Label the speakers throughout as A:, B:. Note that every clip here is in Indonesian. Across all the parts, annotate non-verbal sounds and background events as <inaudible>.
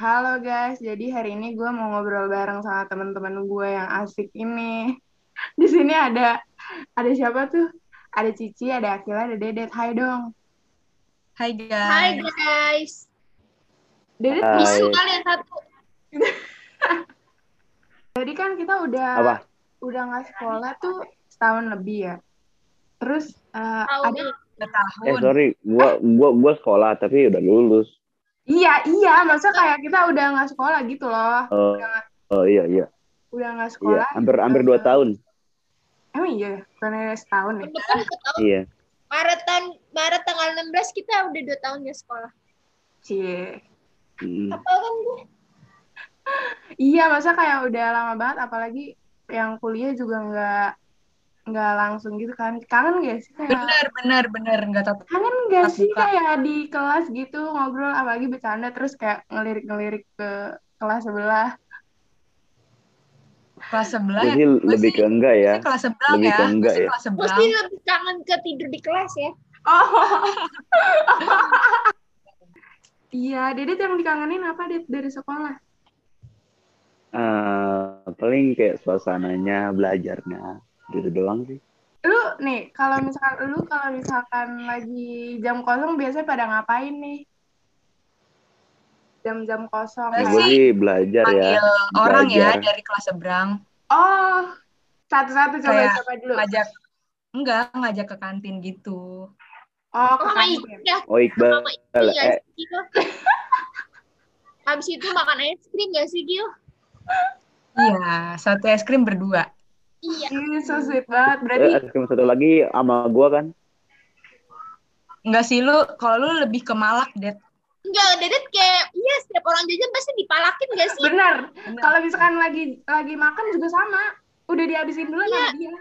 A: Halo guys, jadi hari ini gue mau ngobrol bareng sama teman-teman gue yang asik ini. <laughs> Di sini ada ada siapa tuh? Ada Cici, ada Akila, ada Dedet. Hai dong.
B: Hai guys.
C: Hai guys.
A: Dedet,
D: Hai.
C: Bisu kalian satu.
A: tadi kan kita udah
D: apa
A: udah nggak sekolah tuh setahun lebih ya. Terus eh,
C: Tahun
A: ada-
B: Dua
D: eh
B: tahun.
D: sorry
A: Ah.
D: gua gua gua sekolah tapi udah lulus
A: iya iya, maksudnya kayak kita udah nggak sekolah gitu loh.
D: oh oh, iya iya
A: Udah nggak
D: iya
A: sekolah. Oh.
D: hampir hampir dua tahun
A: Emang iya, karena setahun ya.
C: Kebetulan dua tahun.
D: iya
C: Maret tahun Maret tanggal 16 kita udah dua tahun ya sekolah.
A: Cie.
D: Mm.
C: Apa kan gue?
A: Iya, masa kayak udah lama banget, apalagi yang kuliah juga nggak nggak langsung gitu kan. Kangen gak sih? Kayak,
B: Bener, bener, bener. Nggak tahu.
A: kangen gak
B: Pas
A: sih
B: buka.
A: kayak di kelas gitu ngobrol, apalagi bercanda terus kayak ngelirik-ngelirik ke kelas sebelah.
B: Kelas sebelah
D: jadi
B: ya. Gua
D: lebih
B: sih-
D: ke enggak ya
B: gua sih Kelas sebelah
D: Lebih
B: ya.
D: ke
B: Gua
D: enggak
B: sih
D: ya.
B: Kelas sebelah.
C: Pasti lebih kangen ke tidur di kelas ya.
A: Oh. <laughs> Iya, Dedet yang dikangenin apa Ded, dari sekolah?
D: Eh, paling kayak suasananya belajarnya gitu doang sih
A: Lu nih, kalau misalkan lu kalau misalkan lagi jam kosong biasanya pada ngapain nih? Jam-jam kosong.
B: Pasti
D: ya, gue sih belajar ya
B: Panggil orang ya
D: belajar.
B: dari kelas seberang.
A: Oh, satu-satu coba
B: Kayak
A: coba dulu.
B: Ngajak. Enggak, ngajak ke kantin gitu.
A: Oh, ke
C: Oh my
A: kantin.
C: god.
D: oh Iqbal
C: Sama ini gak
D: eh,
C: sih Gil? <laughs> Habis itu makan es krim gak sih Gil?
B: Iya, satu es krim berdua.
C: Iya.
A: Ih, so sweet banget. Berarti
D: eh, es krim satu lagi sama gua kan
B: Enggak sih lu, kalau lu lebih ke malak, Det.
C: Enggak, Dedet kayak iya setiap orang jajan pasti dipalakin gak sih?
A: benar.
B: Bener.
A: Kalau misalkan lagi lagi makan juga sama. Udah dihabisin dulu sama dia.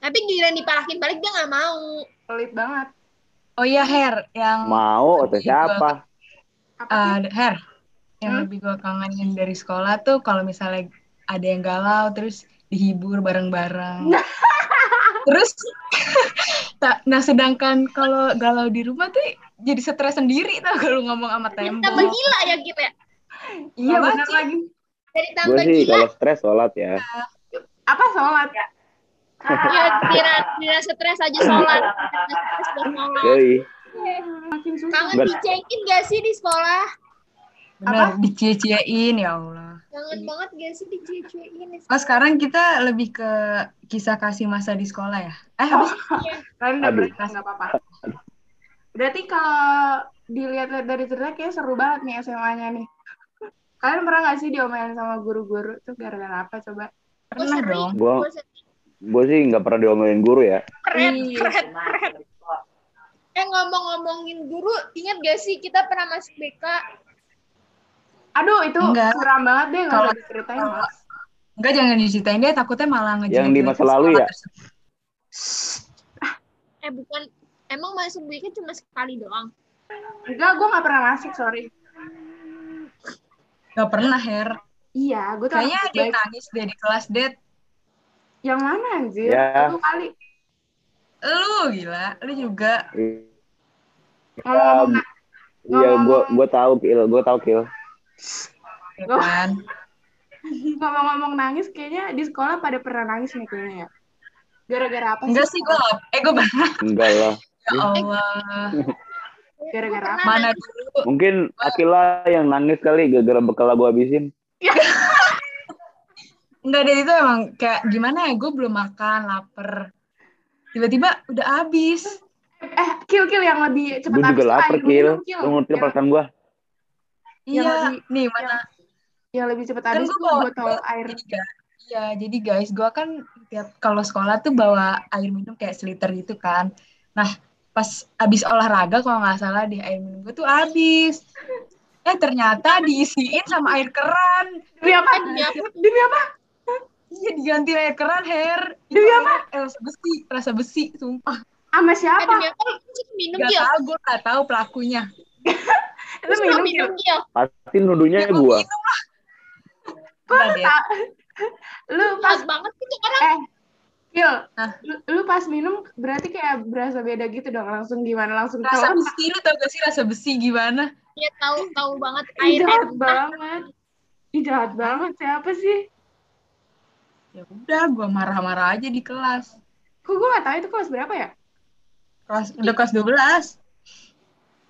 C: Tapi giliran dipalakin balik dia gak mau.
A: Pelit banget.
B: Oh iya, Her, yang
D: mau atau siapa
A: Apa sih?
B: Eh, Her, yang
A: Hmm?
B: lebih gue kangenin dari sekolah tuh kalau misalnya ada yang galau terus dihibur bareng-bareng.
A: Nah.
B: terus, <laughs> ta- nah sedangkan kalau galau di rumah tuh jadi stres sendiri tau <laughs> kalau ngomong sama
C: Tambah
B: tembok.
C: gila ya Gil ya.
A: Iya,
B: apa
A: benar
B: sih?
A: lagi.
C: Dari
D: gua
C: tambah
D: sih
C: gila
D: kalau stres sholat ya
A: Apa sholat ya?
C: ya kira-kira stres aja sholat. Kira stres buat sholat.
D: yoi
A: Makin susah.
C: Kangen
D: Bener.
C: dicengin gak sih di sekolah?
B: Bener, dicie-ciein ya Allah.
C: Kangen banget gak sih dicuekin di
B: Oh
C: sekolah?
B: sekarang kita lebih ke kisah kasih masa di sekolah ya? Eh, habis
A: Kalian udah
D: Aduh.
A: berarti nggak apa-apa. Berarti kalau dilihat-lihat dari cerita kayak seru banget nih SMA-nya nih. Kalian pernah nggak sih diomelin sama guru-guru tuh gara-gara apa coba? Oh,
B: pernah
C: sering.
B: dong.
D: gua
C: Gua sering.
D: gua sih nggak pernah diomelin guru ya
C: Keren,
B: Ih.
C: keren, keren. Eh ngomong-ngomongin guru, ingat gak sih kita pernah masuk BK?
A: Aduh, itu
B: Enggak.
A: seram banget deh kalau
B: Kalau-
A: diceritain. Mas.
B: Enggak jangan diceritain dia takutnya malah ngejelek
D: Yang di masa lalu ya?
C: Eh bukan, emang masuk BK cuma sekali doang.
A: Enggak, gue nggak pernah masuk, sorry.
B: Gak pernah, Her.
A: Iya, gue tuh
B: Kayaknya
A: anak
B: dia
A: baik.
B: nangis deh di kelas, Det.
A: Yang mana anjir?
D: Ya.
A: Satu kali.
B: Lu gila, lu juga.
A: Oh. Ngomong-ngomong,
D: Um, Iya, gue gue tahu kil, gue tahu kil.
B: Ya
A: Gua-
B: kan?
A: ngomong-ngomong nangis, kayaknya di sekolah pada pernah nangis nih kayaknya ya. Gara-gara apa
B: Enggak
A: sih?
B: sih gue eh gue pernah
D: Enggak lah.
B: <laughs> ya Allah.
A: Gara-gara apa?
B: Mana dulu?
D: Mungkin Akila yang nangis kali gara-gara bekal gue habisin.
B: Enggak deh itu emang kayak gimana ya gue belum makan, lapar. Tiba-tiba udah habis.
A: Eh, kill-kill yang lebih cepat
D: Gue juga
A: habis,
D: lapar
A: Ay. Gua
D: kil.
A: bilang, Ya. Kill.
D: Lu ngerti
A: Yang-
D: perasaan gue?
A: Yang
B: Iya,
A: lagi-
B: nih mana
A: Yang lebih cepat
B: kan
A: habis
B: gue
A: tuh
B: bawa
A: botol air.
B: Jadi ga- Iya, jadi guys, gue kan tiap kalau sekolah tuh bawa air minum kayak seliter gitu kan. Nah, pas abis olahraga kalau nggak salah di air minum gue tuh habis. Eh ternyata diisiin sama air keran.
A: Demi apa?
C: Demi apa?
A: Demi apa?
B: Iya diganti air keran, Her. Itu
A: Demi
B: apa? rasa besi, rasa besi, sumpah.
A: Sama
C: Eh,
A: siapa?
C: demi apa? Lu Cik minum
B: Gak
A: iya.
C: Gil.
B: tau, gue gak tau pelakunya.
A: Lu
C: Terus
A: minum,
C: minum,
A: Gil.
C: minum Gil.
D: Pasti nuduhnya
B: Ya, gua
D: gue.
B: minum lah. Enggak,
A: Lu
B: deh.
A: tak- Lu pas
C: Pas banget itu orang.
A: eh Gil,
B: Hah?
A: lu, lu pas minum berarti kayak berasa beda gitu dong langsung gimana langsung
B: Rasa
A: telan
B: besi, lu tau gak sih rasa besi gimana?
C: Dia tahu tahu banget
A: Ih,
C: air air
A: jahat banget. Ih, jahat banget. Siapa sih?
B: ya udah gue marah-marah aja di kelas
A: Kok gue gak tahu itu kelas berapa
D: <laughs>
A: ya?
B: kelas udah kelas 12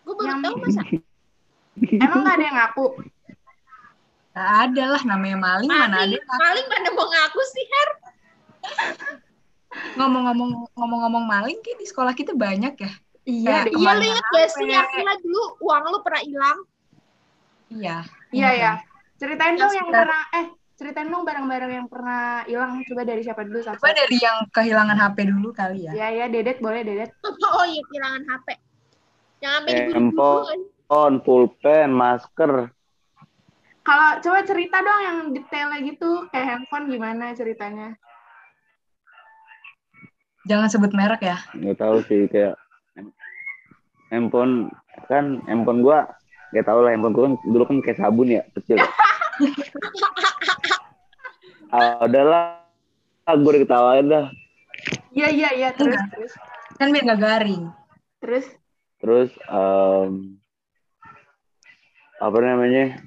C: Gue baru
A: Yang-
C: tahu masa
A: Emang gak ada yang ngaku?
B: Gak ada lah namanya maling mana ada
C: paling paling pada mau ngaku sih Her.
B: ngomong-ngomong ngomong-ngomong maling kayak di sekolah kita banyak ya
A: Iya,
B: Kayak
A: deh.
C: Iya
B: Kemana
C: lu inget gak sih
A: sampai?
C: Akila dulu uang lu pernah hilang?
B: iya
A: Iya ya. Ceritain dong
C: Yang
A: yang pernah eh ceritain dong barang-barang yang pernah hilang coba dari siapa dulu satu.
B: coba dari yang kehilangan HP dulu kali ya
A: Iya ya, Dedet boleh Dedet.
C: <laughs> Oh iya kehilangan HP. Yang sampai
D: Eh,
C: diburu-buru.
D: empok. On, pulpen, masker.
A: Kalau coba cerita dong yang detailnya gitu kayak handphone gimana ceritanya?
B: jangan sebut merek ya
D: Nggak tahu sih kayak handphone kan handphone gua nggak tahu lah handphone gua kan dulu kan kayak sabun ya kecil. ah, udahlah, gue udah ketawain dah.
A: Iya iya iya terus terus
B: kan biar gak garing
A: terus
D: terus em, apa namanya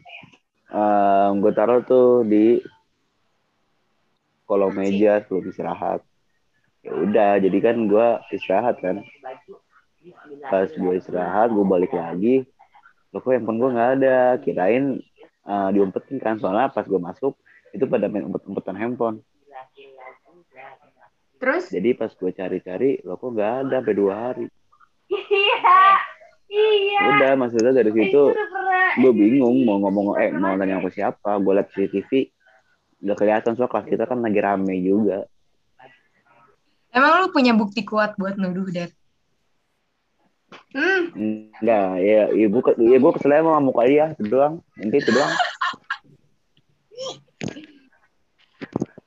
D: em, gue taruh tuh di kolong meja sebelum istirahat ya udah jadi kan gue istirahat kan pas gue istirahat gue balik lagi loh kok handphone gue nggak ada kirain eh, diumpetin kan soalnya pas gue masuk itu pada main umpet-umpetan handphone
A: terus
D: jadi pas gue cari-cari loh kok nggak ada sampai dua hari Ya
A: Iya. Iya.
D: udah maksudnya dari situ
A: pernah.
D: gue bingung mau ngomong eh mau nanya ke siapa gue liat CCTV nggak kelihatan soal kelas kita kan lagi rame juga
B: emang lu punya bukti kuat buat nuduh Dad
A: Hmm,
D: enggak ya ya gue ya gue kesel aja sama muka dia itu doang nanti itu doang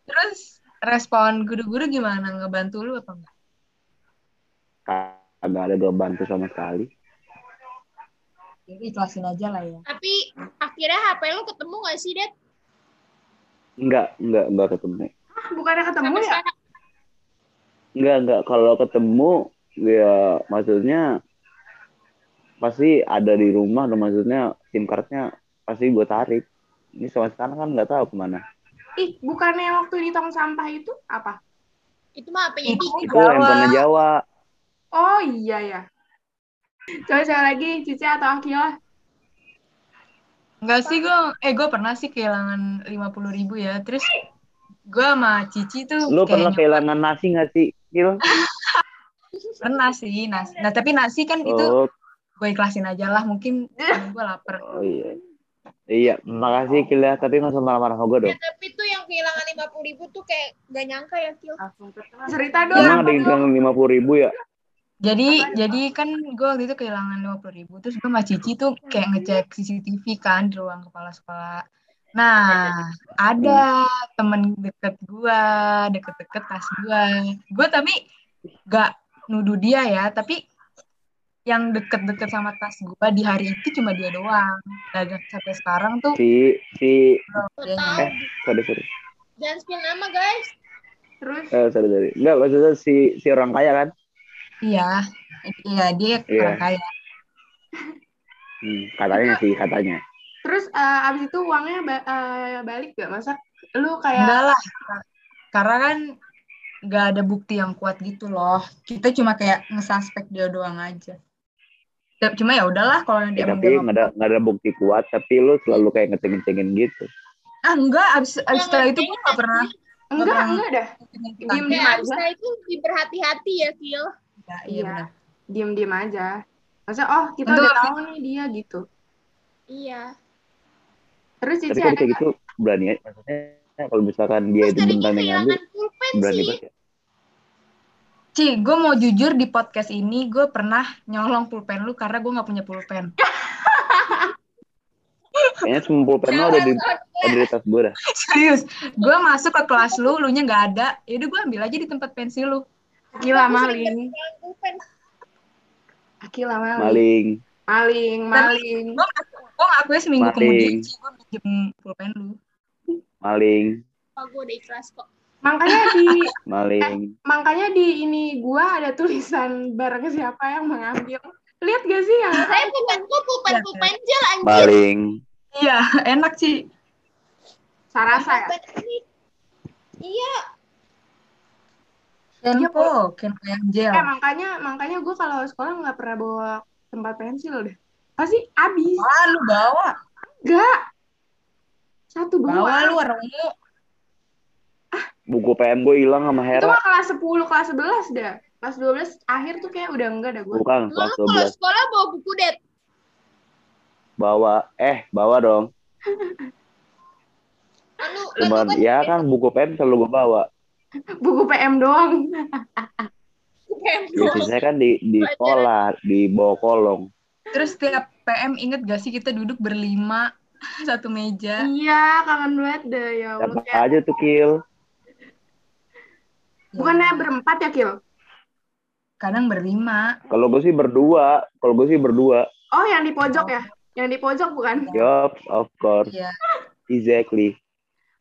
B: terus respon guru-guru gimana ngebantu lu apa enggak
D: agak ada gue bantu sama sekali
B: jadi ikhlasin aja lah ya
C: Tapi akhirnya HP lu ketemu gak sih, Det?
D: enggak enggak enggak ketemu
A: ah, bukannya ketemu
C: Sampai
A: ya?
C: sekarang.
D: enggak enggak kalau ketemu ya maksudnya pasti ada di rumah dan maksudnya SIM cardnya pasti gue tarik ini sama sekarang kan nggak tahu kemana
A: Ih, bukannya yang waktu di tong sampah itu apa?
C: Itu mah HP-nya
B: Itu.
C: di
D: itu handphone Jawa
A: Oh iya ya. Coba saya lagi Cici atau Akila.
B: Enggak sih gue, eh gue pernah sih kehilangan 50.000 ribu ya. Terus gue sama Cici tuh
D: lu
B: kayak
D: pernah kehilangan nasi nggak sih Gil?
B: pernah sih nasi. Nah tapi nasi kan itu
D: Oh,
B: gue ikhlasin aja lah. <laughs> Mungkin gue lapar.
D: Oh iya. Iya, makasih Kila, tapi nggak usah marah-marah sama gue
C: Ya,
D: dong.
C: tapi tuh yang kehilangan 50 ribu tuh kayak gak nyangka ya,
A: Iya,
C: Kil.
A: Cerita dong.
D: Emang ada
A: apa
D: yang
A: dong?
D: bilang lima puluh ribu ya?
B: Jadi jadi kan gue waktu itu kehilangan 50.000 ribu. Terus gue sama Cici tuh kayak ngecek CCTV kan di ruang kepala sekolah. Nah, ada temen deket gue, deket-deket tas gue. Gue tapi gak nuduh dia ya, tapi yang deket-deket sama tas gue di hari itu cuma dia doang. Dan sampai sekarang tuh
D: Si si
C: Gak
B: Iya.
C: tahu.
D: sorry sorry.
C: Jangan spill nama, guys.
A: Terus
D: Eh, sorry sorry. Enggak, maksudnya si si orang kaya kan?
B: iya, iya dia orang
D: Iya.
B: kaya.
D: Hmm, katanya sih katanya.
A: terus eh, abis itu uangnya ba- eh, balik gak? Masa lu kayak
B: Enggak lah, karena kan gak ada bukti yang kuat gitu loh. Kita cuma kayak ngesuspek dia doang aja. Ya, Cuma ya udahlah kalau dia
C: Iya,
D: Ya,
B: emang
D: tapi
B: dia
D: nggak ada nggak ada bukti kuat, tapi lu selalu kayak ngecengin-cengin gitu.
B: ah enggak abis, abis setelah itu gue gak pernah Iya,
A: enggak
B: Orang-
A: enggak dah Diem
C: Ya,
A: Gimana?
C: abis setelah itu lebih berhati-hati ya, Kil.
B: Iya, iya benar.
A: diem diem aja. Masa oh kita
B: Enggak.
A: udah tahu nih dia gitu.
C: Iya.
A: Terus
D: Tapi
A: Cici
D: kalau
A: ada
D: kayak
A: nggak?
D: gitu berani aja. Maksudnya kalau misalkan dia
C: kan? Terus
D: itu
C: tadi
D: beneran yang ngambil,
C: kehilangan pulpen
D: berani
C: sih.
D: banget. ya.
B: Ci, gue mau jujur di podcast ini gue pernah nyolong pulpen lu karena gue nggak punya pulpen.
D: Kayaknya semua pulpen lu ada di ada di tas gue dah.
B: Serius, gue masuk ke kelas lu, lu nya nggak ada. Yaudah gue ambil aja di tempat pensil lu.
A: Akila
C: Aku sering
A: maling.
C: kehilangan pulpen.
A: Akila maling.
D: Maling.
A: Maling, maling.
B: Gue gue ngakuin seminggu
D: Mati.
B: kemudian Ci, gue pinjem pulpen lu.
D: Maling.
C: Apa gue udah ikhlas kok.
A: Makanya di
D: Maling.
A: makanya di ini gua ada tulisan barang siapa yang mengambil. Lihat gak sih yang
C: Saya pupanku
A: Iya,
C: pupanku
B: Ya, ya.
C: panjel anjir.
D: Maling.
B: Iya, <laughs> enak sih.
A: Sarasa ya?
C: Apa ini? Iya,
B: Iya, Kenpo, kenpo yang gel.
A: Eh, makanya makanya gue kalau sekolah nggak pernah bawa tempat pensil deh. Pasti habis.
B: Wah, lu bawa.
A: Enggak. Satu
B: Bawa
A: buah.
B: lu warungmu.
D: Buku PM gue hilang sama
A: Itu
D: Hera.
A: mah kelas 10, kelas 11 dah. Kelas 12 akhir tuh kayak udah enggak dah gue.
D: Bukan,
C: emang
D: kelas
C: lu kalau
D: 12.
C: sekolah bawa buku det.
D: Bawa. Eh, bawa dong.
C: Anu, kan lu
D: Cuman,
C: kan
D: ya kan buku PM selalu gue bawa.
B: Oh.
A: Buku PM doang.
C: buku PM <laughs> doang.
D: Biasanya kan di, di sekolah, di bawah kolong.
B: Terus tiap PM inget gak sih kita duduk berlima <laughs> satu meja?
A: iya, kangen banget deh ya Allah.
D: Siapa
A: Kayak-
D: aja tuh, Kil?
A: Bukannya berempat ya, Kil?
B: Kadang berlima.
D: Kalau gue sih berdua. Kalau gue sih berdua.
A: Oh, yang di pojok ya? Yang di pojok bukan?
D: Yup, of course.
B: Iya.
D: Exactly.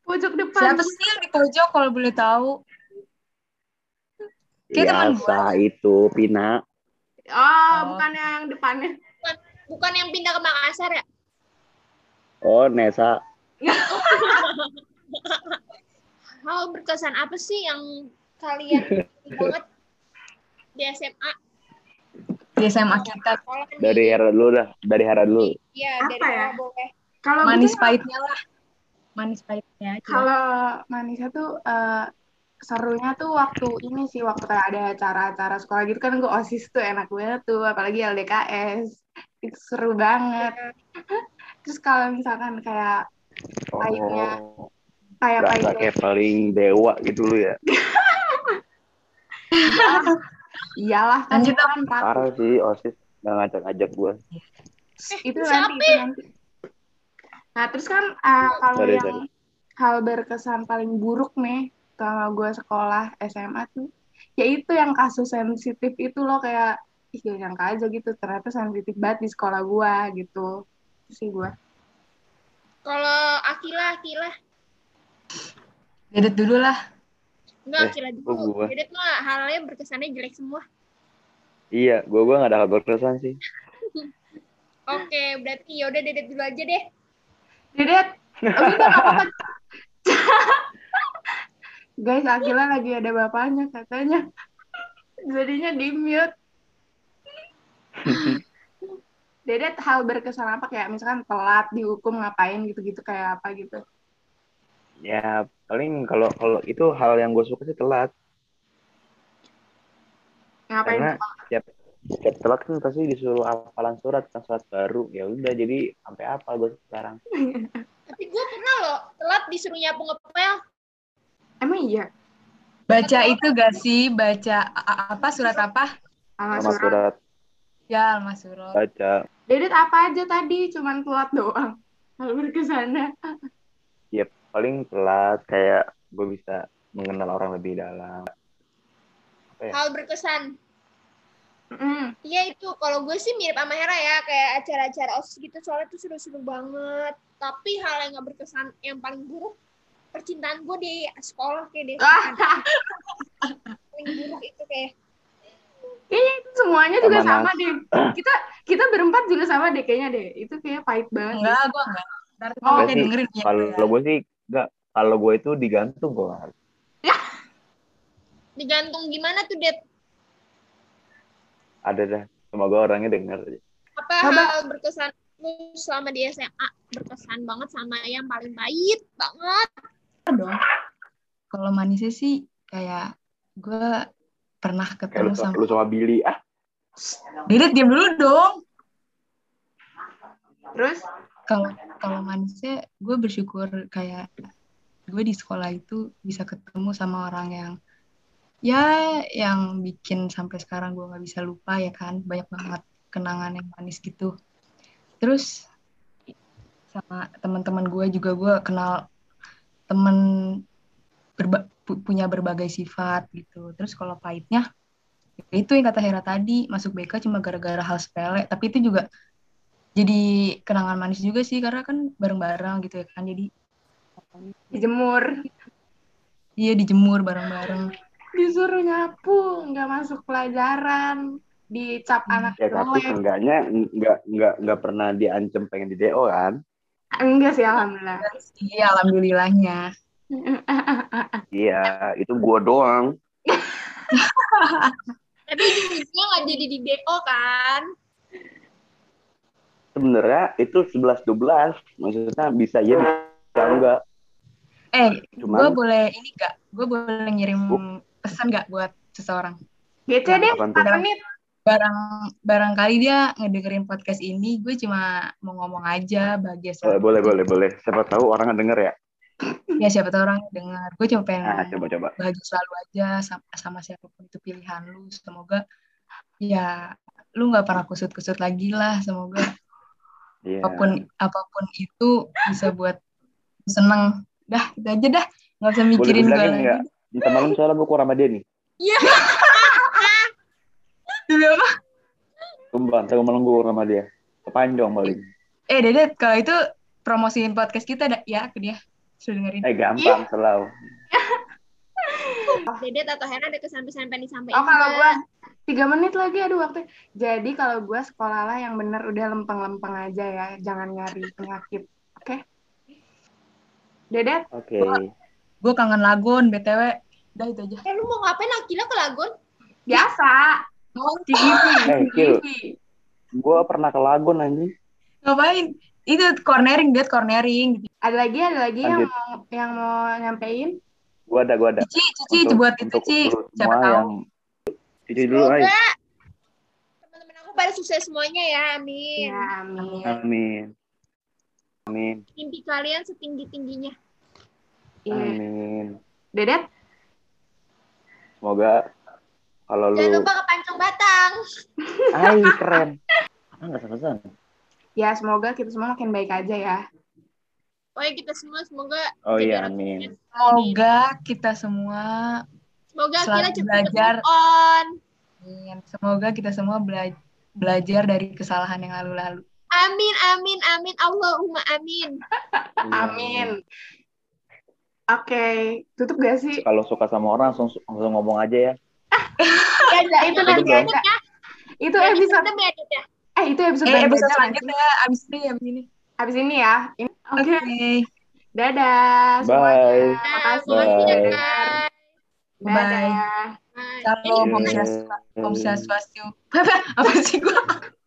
A: Pojok depan.
B: Siapa sih yang di pojok kalau boleh tahu? Kayak teman gua.
D: Biasa itu, Pina.
A: Oh, bukan yang depannya.
C: Bukan yang pindah ke Makassar ya?
D: Oh, Nesa.
C: Hal berkesan apa sih yang
D: <laughs>
C: kalian banget di SMA?
B: Di SMA kita.
C: Sekolah nih.
D: Dari Hera dulu dah. Dari Hera dulu.
C: Iya,
A: Apa
C: dari
A: ya?
C: ya? boleh.
A: Kalau gue
B: Manis
A: tuh-
B: pahitnya lah. Manis pahitnya
D: Iya.
B: aja.
A: Kalau manisnya tuh eh, serunya tuh waktu ini sih waktu kayak ada acara-acara sekolah gitu kan gue osis tuh enak banget tuh apalagi LDKS itu seru banget.
D: Iya.
A: <laughs> Terus kalau misalkan kayak Pahitnya.
D: Oh,
A: kayak
D: berasa
A: pahitnya,
D: kayak paling dewa gitu lu ya.
A: iyalah kan
B: Lanjut,
A: kan praktis.
D: Parah sih, OSIS. Nggak ngajak-ngajak gue. Eh,
A: itu
C: Siapa?
A: nanti itu nanti. Nah terus kan eh, kalau
D: Sorry,
A: yang
D: sorry.
A: hal berkesan paling buruk nih selama gue sekolah SMA tuh yaitu yang kasus sensitif itu loh kayak ih gak nyangka aja gitu ternyata sensitif banget di sekolah gue gitu Itu sih gue
C: Kalau Akila, Akila.
B: Dedet dulu lah.
C: Enggak,
D: Eh,
C: Akila
D: kok
C: dulu.
D: gua?
C: Jadi tuh halnya berkesannya jelek semua.
D: Iya, gue gua nggak ada kabar kesan sih.
C: Oke, berarti yaudah Dedet dulu aja deh.
D: <laughs>
A: Dedet tapi gak apa-apa <laughs> guys Akila lagi ada bapaknya katanya jadinya di
D: <laughs>
A: mute Dedet hal berkesan apa kayak misalkan telat dihukum ngapain gitu-gitu kayak apa gitu
D: Ya, paling kalau kalau itu hal yang gue suka sih telat.
A: ngapain
D: Karena setiap, setiap telat kan pasti disuruh hafalan surat, kan surat baru. Ya udah, jadi sampai apa gue sekarang.
C: Tapi gue pernah loh, telat disuruh nyapu ngepel.
A: emang iya
B: Baca itu gak sih? Baca a- a- apa surat apa?
D: Sama
A: Alasan
D: surat,
B: Ya, Mas Surat.
D: baca.
A: Dedet apa aja tadi? Cuman telat doang. Hal berkesannya.
D: Paling telat, kayak gue bisa mengenal orang lebih dalam. Ya.
C: Hal berkesan.
A: Mm.
C: Iya itu, kalau gue sih mirip sama Hera ya, kayak acara-acara OSIS gitu, soalnya tuh seru-seru banget. Tapi hal yang gak berkesan, yang paling buruk, percintaan gue di sekolah kayak di
A: Ah, <laughs>
C: paling buruk itu kayak
A: semuanya juga
D: Sama
A: sama deh. Kita kita berempat juga sama deh kayaknya deh. Itu kayak pahit banget.
B: Enggak, gua enggak. Ntar
A: Oh.
B: kamu dengerin ya.
D: Kalau gue sih, nggak. Kalau gue itu digantung gue.
C: digantung gimana tuh, Det?
D: Ada dah. Semoga orangnya denger.
C: Apa
A: Apa?
C: hal berkesan lu selama di SMA? Berkesan banget sama yang paling pahit banget.
B: dong. Kalau manisnya sih kayak gue pernah
D: Kayak
B: ketemu
D: lu,
B: sama
D: lu sama Billy. Ah,
B: Dedet diam dulu dong.
A: Terus
B: Kalau kalau manisnya gue bersyukur kayak gue di sekolah itu bisa ketemu sama orang yang ya yang bikin sampai sekarang gue nggak bisa lupa ya kan banyak banget kenangan yang manis gitu. Terus sama teman-teman gue juga gue kenal temen berba- pu- punya berbagai sifat gitu. Terus kalau pahitnya ya itu yang kata Hera tadi masuk BK cuma gara-gara hal sepele tapi itu juga jadi kenangan manis juga sih karena kan bareng-bareng gitu ya kan jadi
A: dijemur,
B: iya dijemur bareng-bareng
A: disuruh nyapu, nggak masuk pelajaran. dicap anak
D: ya tapi
A: jelek.
D: seenggaknya nggak nggak nggak pernah diancam pengen di DO kan
A: Enggak sih alhamdulillah.
B: Iya, alhamdulillahnya.
D: iya itu gua doang
C: Tapi ujung-ujungnya nggak jadi di DO kan?
D: sebenarnya itu 11 12 maksudnya bisa ya bisa enggak
B: Eh, gue
D: cuman
B: boleh ini gak? Gue boleh ngirim pesan gak buat seseorang?
A: GC deh
D: Apaan Nah,
A: 4
D: tuh?
A: menit.
B: Barang barangkali dia ngedengerin podcast ini, gue cuma mau ngomong aja bahagia
D: boleh eh, boleh boleh boleh siapa tahu orang denger ya
B: Ya siapa tahu orang dengar. Gue cuma pengen
D: nah coba coba
B: bahagia selalu aja sama, sama siapapun itu pilihan lu. Semoga ya lu nggak pernah kusut-kusut lagi lah. Semoga
D: iya
B: apapun apapun itu bisa buat seneng. Dah, itu aja dah. Nggak usah mikirin gue
D: dibilangin
B: lagi.
D: nggak? Minta malam soalnya gue kurang sama dia nih.
B: Demi apa?
D: Sumpah, ntar malam gue kurang sama dia. Kepanjang paling.
B: Eh, Dedet, kalau itu promosiin podcast kita dah- ya ke dia. Suruh dengerin.
D: Eh gampang selalu.
C: Dedet atau Hera ada kesan-pesan pengen disampaikan?
A: Oh kalau gue tiga menit lagi aduh waktu. Jadi kalau gue sekolah lah yang bener udah lempeng-lempeng aja ya, jangan nyari penyakit. Oke? Dedet,
D: Oke.
B: Gue kangen lagun, BTW. Dah, itu aja.
C: Eh, lu mau ngapain Akila ke Lagun?
A: biasa.
D: <laughs>
A: Di
B: gitu.
D: Eh,
A: TV, di
D: Kil.
A: TV.
D: Gue pernah ke Lagun anjing.
B: Ngapain? Itu cornering, Dedet, cornering. gitu.
A: Ada lagi, ada lagi yang
D: Lanjut.
A: mau yang mau nyampein.
D: Gue ada, gue ada.
B: Cici, Cici, itu buat itu, Cici.
D: Ya, lu
B: Siapa
D: semua
B: tahu.
D: yang Cici dulu, ay.
C: Semoga teman-teman aku pada sukses semuanya ya, amin.
A: Ya, amin.
D: Amin. Amin.
C: Mimpi kalian setinggi-tingginya.
A: Iya.
D: Amin.
A: Dedet,
D: Semoga kalau lu...
C: Jangan lupa ke Pancong Batang.
D: Ay, keren. Ah, nggak pesan
A: ya semoga kita semua makin baik aja ya.
C: Oh ya, kita semua semoga
D: Oh
C: jadi
D: iya,
C: orang
D: amin.
C: sukses.
B: Semoga kita semua
C: Semoga
B: Selalu
C: Akila cepat
B: belajar.
C: move on.
B: amin. semoga kita semua bela- belajar dari kesalahan yang lalu-lalu.
C: Amin, amin, amin. Allahumma amin.
D: Iya,
A: Amin. Oke, tutup gak sih?
D: Kalau suka sama orang, langsung, langsung ngomong aja ya.
A: Ya, ya, itu
D: Tutup
A: nanti
D: dong.
A: aja. Itu
C: Ya,
A: episode,
C: tetap ya, tetap ya.
A: eh itu episode,
B: Eh, episode
A: aja.
B: selanjutnya abis ini abis ini.
A: Abis ini ya. Ini- Oke,
B: Oke.
A: dadah semuanya.
D: Bye.
A: Makasih.
D: Bye.
C: Makasih
A: Dadah.
C: ya, Kak.
B: Bye.
A: Dadah.
C: Bye.
B: Salam om
D: Iya. 음.
B: <laughs> Swastiastu. Apa sih gua?